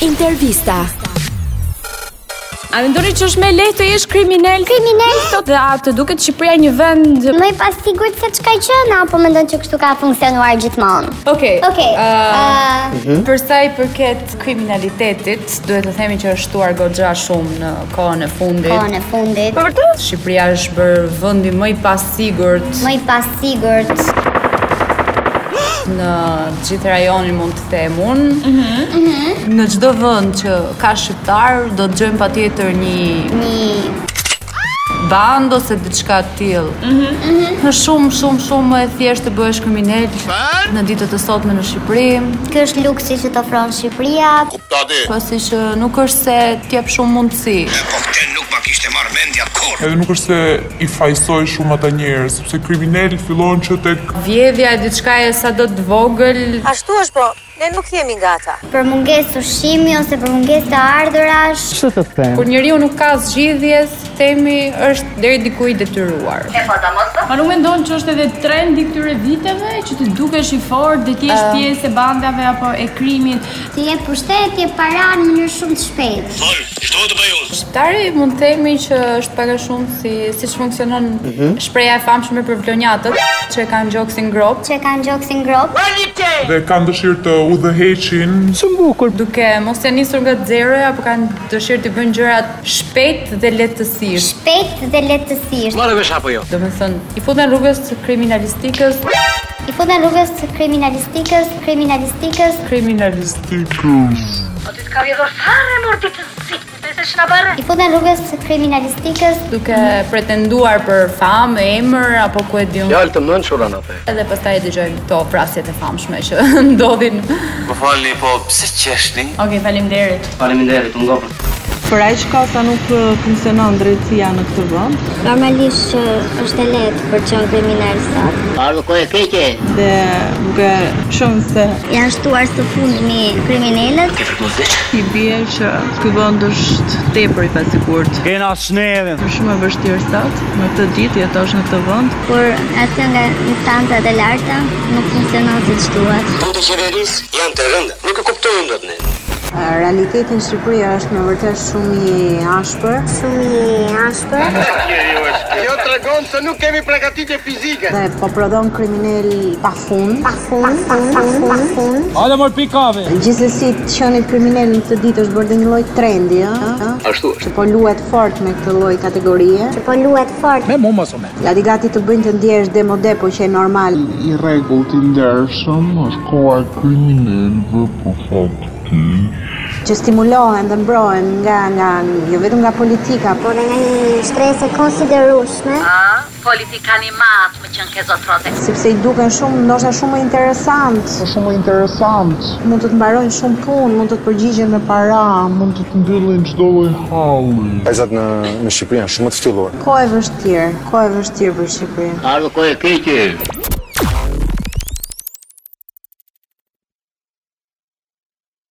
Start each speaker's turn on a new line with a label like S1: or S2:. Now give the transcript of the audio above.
S1: Intervista.
S2: A mendoni që është më lehtë të jesh kriminal?
S3: Kriminal?
S2: Sot dhe a të duket Shqipëria një vend Okej.
S3: Më i pasigurt se çka qenë apo mendon që kështu ka funksionuar gjithmonë?
S4: Okej.
S3: Okej. uh,
S4: Ah,
S3: ë,
S4: Për sa i përket kriminalitetit, duhet të themi që është shtuar goxha shumë në kohën e fundit.
S3: Kohën e fundit.
S4: vërtet? Shqipëria është bërë vendi më i pasigurt
S3: Më i pasigurt.
S4: në gjithë rajonin mund të them unë. Në çdo vend që ka shqiptar, do të gjojmë patjetër një
S3: Një
S4: band ose diçka të tillë. Është shumë shumë shumë më e thjeshtë të bëhesh kriminal në ditët e sotme në Shqipëri,
S3: Ky është luksi që të ofron Shqipëria.
S4: pasi që nuk është se t'jep shumë mundësi.
S5: Po këtë nuk ma kishte marrë mendja kur.
S6: Edhe nuk është se i fajsoj shumë ata njerëz, sepse kriminali fillon që tek
S4: Vjedhja e diçka e sado të vogël
S7: Ashtu është po, ne nuk jemi nga ata.
S3: Për mungesë ushqimi ose për mungesë të ardhurash.
S4: Kur njeriu nuk ka zgjidhjes, themi është deri diku i detyruar.
S2: A nuk mendon që është edhe trendi këtyre viteve që të dukesh i fortë dhe të jesh pjesë e bandave apo e krimit?
S3: Ti je pushtet, je para në mënyrë shumë të shpejtë.
S5: Fol, ç'do të bëj unë?
S4: Shqiptari mund të themi që është pak a shumë si siç funksionon
S8: Mhm.
S4: shpreha e famshme për vlonjatët që e kanë gjoksin grop,
S3: Që kanë gjoksin grop,
S6: dhe kanë dëshirë të udhëheqin.
S4: duke mos e nisur nga zero apo kanë dëshirë të bëjnë gjërat shpejt dhe lehtësisht.
S3: shpejt dhe lehtësisht.
S5: Marrë vesh apo jo?
S4: Domethënë, i futen rrugës të kriminalistikës,
S3: I futën rrugës të kriminalistikës, kriminalistikës, i futën rrugës të kriminalistikës,
S4: duke pretenduar për famë, emër apo ku e diun.
S8: Fjalë të mëndshura në the.
S4: Edhe pastaj e dëgjojmë këto prasjet e famshme që ndodhin.
S8: Më falni, po pse qeshni?
S4: Okej, faleminderit.
S8: Faleminderit, u ngopët.
S9: Për aq kohë sa nuk uh, funksionon drejtësia në këtë vend
S3: Normalisht që është e lehtë për të qenë kriminal sot.
S8: Ardhë kohë e keqe.
S9: dhe duke shumë se
S3: Janë shtuar së fundmi kriminalët.
S8: Ke frikmozit?
S9: i bie që ky vend është tepër i pasigurt.
S10: Kena sneve.
S9: Është shumë e vështirë sot, në këtë ditë jetosh në këtë vend.
S3: kur asnjë nga instancat e larta nuk funksionon siç duhet.
S8: Punët e qeverisë janë të rënda. Nuk e kuptojnë dot ne.
S9: Realiteti në Shqipëri është me vërtet shumë i ashpër
S3: Shumë i ashpër.
S8: Jo tregon se nuk kemi përgatitje fizike.
S9: dhe po prodhon kriminal pa fund.
S3: Pa fund, pa fund, pa fund.
S10: Hajde mor pikave.
S9: Gjithsesi, qenit kriminal në këtë ditë është bërë dhe një lloj trendi, ëh,
S8: Ashtu është.
S9: që po luhet fort me këtë lloj kategorie.
S3: Që po luhet fort.
S10: Me mua mos o me.
S9: Gati gati të bëjnë të ndjesh demode, po që e normal.
S6: I rregullt i ndershëm është koha e po kriminalëve për fat të
S9: që stimulohen dhe mbrohen nga nga jo vetëm nga politika, por
S3: Por nga një shtresë e konsiderueshme,
S9: sepse i duken shumë ndoshta shumë më interesant.
S6: Shumë interesant.
S9: Mund të të mbarojnë shumë punë, mund të të përgjigjen me para, mund të të
S6: Mbyllin çdo lloj halli.
S11: Vajzat në në Shqipëri janë shumë të ftylluar.
S9: kohë e vështirë, kohë e vështirë për Shqipërinë.
S8: Ardhë kohë Po, e keqe.